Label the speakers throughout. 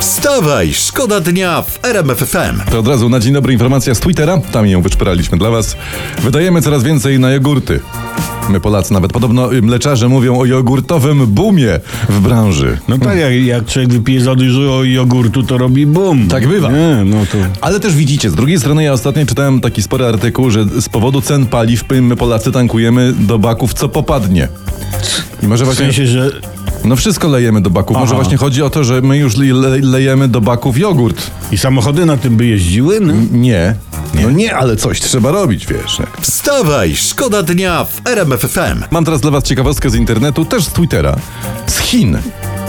Speaker 1: Wstawaj, szkoda dnia w RMF FM.
Speaker 2: To od razu na dzień dobry informacja z Twittera, tam ją wyszperaliśmy dla was. Wydajemy coraz więcej na jogurty. My Polacy nawet podobno y, mleczarze mówią o jogurtowym boomie w branży.
Speaker 3: No tak, jak, jak człowiek wypije za dużo jogurtu, to robi bum.
Speaker 2: Tak bywa.
Speaker 3: Nie, no to...
Speaker 2: Ale też widzicie, z drugiej strony ja ostatnio czytałem taki spory artykuł, że z powodu cen paliw my Polacy tankujemy do baków co popadnie. I może
Speaker 3: W
Speaker 2: właśnie...
Speaker 3: sensie, że...
Speaker 2: No wszystko lejemy do baków. Może
Speaker 3: Aha.
Speaker 2: właśnie chodzi o to, że my już le lejemy do baków jogurt.
Speaker 3: I samochody na tym by jeździły, no?
Speaker 2: Mm, Nie. No nie, ale coś trzeba robić, wiesz. jak-
Speaker 1: Wstawaj, szkoda dnia w RMF FM.
Speaker 2: Mam teraz dla Was ciekawostkę z internetu, też z Twittera, z Chin.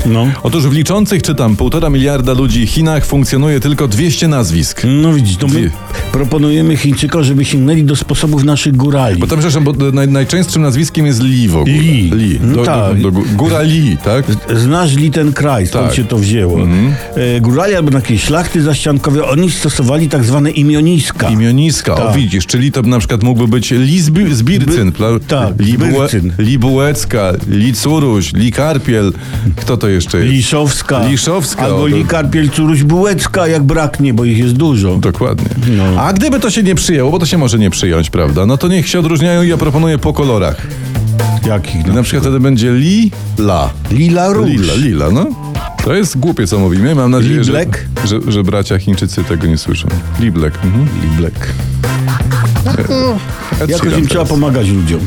Speaker 3: No.
Speaker 2: Otóż w liczących, czytam, półtora miliarda ludzi w Chinach funkcjonuje tylko 200 nazwisk.
Speaker 3: No widzisz, to
Speaker 2: Dwie.
Speaker 3: my proponujemy Chińczykom, żeby sięgnęli do sposobów naszych górali.
Speaker 2: Bo tam, przepraszam, bo naj, najczęstszym nazwiskiem jest Li w ogóle.
Speaker 3: Li.
Speaker 2: Li. Do,
Speaker 3: No
Speaker 2: do,
Speaker 3: tak.
Speaker 2: do, gó- góra Li, tak?
Speaker 3: Znasz li ten kraj, skąd
Speaker 2: Tak.
Speaker 3: się to wzięło. E, Górali albo jakieś szlachty zaściankowe, oni stosowali tak zwane imioniska.
Speaker 2: Imioniska, o
Speaker 3: Tak.
Speaker 2: widzisz, czyli to na przykład mógłby być Li Zbi- Zbircyn, pra-
Speaker 3: tak,
Speaker 2: Li,
Speaker 3: Zbircyn.
Speaker 2: Li Bułecka, Li Curuś, Li Karpiel, kto to jeszcze jest?
Speaker 3: Liszowska.
Speaker 2: Liszowska, o,
Speaker 3: Albo
Speaker 2: to-
Speaker 3: Likarpiel Curuś Bułecka, jak braknie, bo ich jest dużo.
Speaker 2: Dokładnie.
Speaker 3: No.
Speaker 2: A gdyby to się nie przyjęło, bo to się może nie przyjąć, prawda? No to niech się odróżniają i ja proponuję po kolorach.
Speaker 3: Jakich?
Speaker 2: I
Speaker 3: No?
Speaker 2: na przykład wtedy będzie lila.
Speaker 3: Lila Róż.
Speaker 2: Lila, lila, no. To jest głupie, co mówimy. Mam nadzieję, że,
Speaker 3: Liblek?
Speaker 2: że, że bracia Chińczycy tego nie słyszą. Liblek. Mhm. Liblek.
Speaker 3: Jakoś im trzeba pomagać ludziom.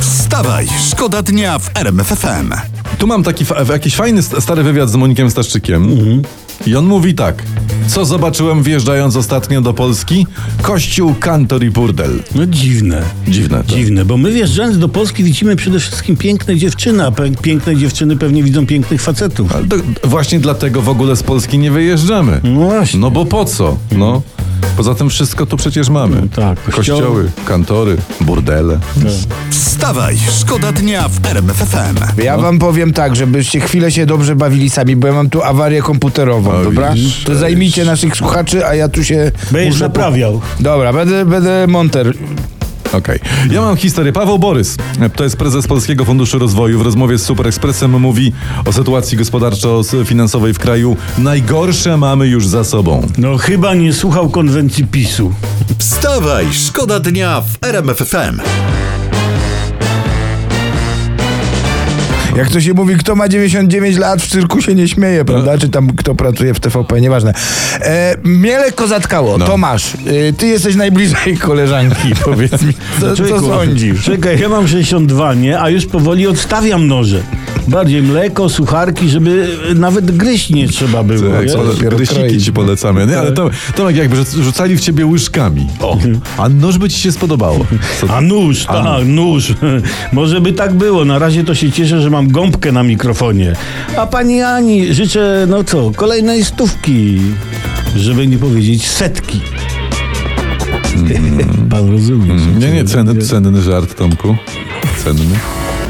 Speaker 1: Wstawaj, szkoda dnia w RMF FM.
Speaker 2: Tu mam taki fa- jakiś fajny st- stary wywiad z Monikiem Staszczykiem. I on mówi tak. Co zobaczyłem wjeżdżając ostatnio do Polski? Kościół, kantor i burdel.
Speaker 3: No dziwne.
Speaker 2: Dziwne to.
Speaker 3: Dziwne, bo my wjeżdżając do Polski widzimy przede wszystkim piękne dziewczyny, a pe- piękne dziewczyny pewnie widzą pięknych facetów.
Speaker 2: Ale to właśnie dlatego w ogóle z Polski nie wyjeżdżamy.
Speaker 3: No właśnie.
Speaker 2: No bo po co? No. Poza tym wszystko tu przecież mamy.
Speaker 3: tak,
Speaker 2: No kościoły.
Speaker 3: kościoły.
Speaker 2: kantory, burdele.
Speaker 1: Wstawaj, szkoda dnia w RMF FM.
Speaker 4: Ja
Speaker 2: No.
Speaker 4: wam powiem tak, żebyście chwilę się dobrze bawili sami, bo ja mam tu awarię komputerową,
Speaker 2: A,
Speaker 4: dobra?
Speaker 2: widzisz,
Speaker 4: to zajmijcie naszych słuchaczy, a ja tu się.
Speaker 3: Będziesz
Speaker 4: muszę po-
Speaker 3: naprawiał.
Speaker 4: Dobra, będę, będę monter.
Speaker 2: Okej. Ja mam historię. Paweł Borys, to jest prezes Polskiego Funduszu Rozwoju, w rozmowie z SuperEkspresem mówi o sytuacji gospodarczo-finansowej w kraju. Najgorsze mamy już za sobą.
Speaker 3: No chyba nie słuchał konwencji PiSu.
Speaker 1: Wstawaj, szkoda dnia w RMF FM.
Speaker 4: Jak to się mówi, kto ma 99 lat, w cyrku się nie śmieje, prawda? Czy tam kto pracuje w TVP, nieważne. E, mnie lekko
Speaker 2: No.
Speaker 4: zatkało. Tomasz, y, ty jesteś najbliżej koleżanki, powiedz mi. Co, co
Speaker 3: No, Człowieku,
Speaker 4: sądzisz?
Speaker 3: Czekaj, ja mam 62, nie? A już powoli odstawiam noże. Bardziej mleko, sucharki, żeby e, nawet gryźć nie trzeba było.
Speaker 2: Tak,
Speaker 3: wiesz?
Speaker 2: pole-
Speaker 4: dopiero
Speaker 2: Grysiki
Speaker 4: kroi.
Speaker 2: ci polecamy. Nie, ale Tomek, Tomek jakby rzu- rzucali w ciebie łyżkami. Tak. O. A noż by ci się spodobało. Co,
Speaker 3: A nóż, tak, nóż. Może by tak było. Na razie to się cieszę, że mam gąbkę na mikrofonie. A pani Ani, życzę, no co, kolejnej stówki. Żeby nie powiedzieć setki. Pan rozumie. że-
Speaker 2: nie, nie, cenny, cenny żart, Tomku. Cenny.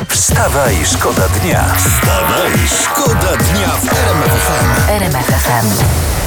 Speaker 1: Wstawaj, szkoda dnia. Wstawaj, szkoda dnia w RMF FM.
Speaker 5: RMFFM.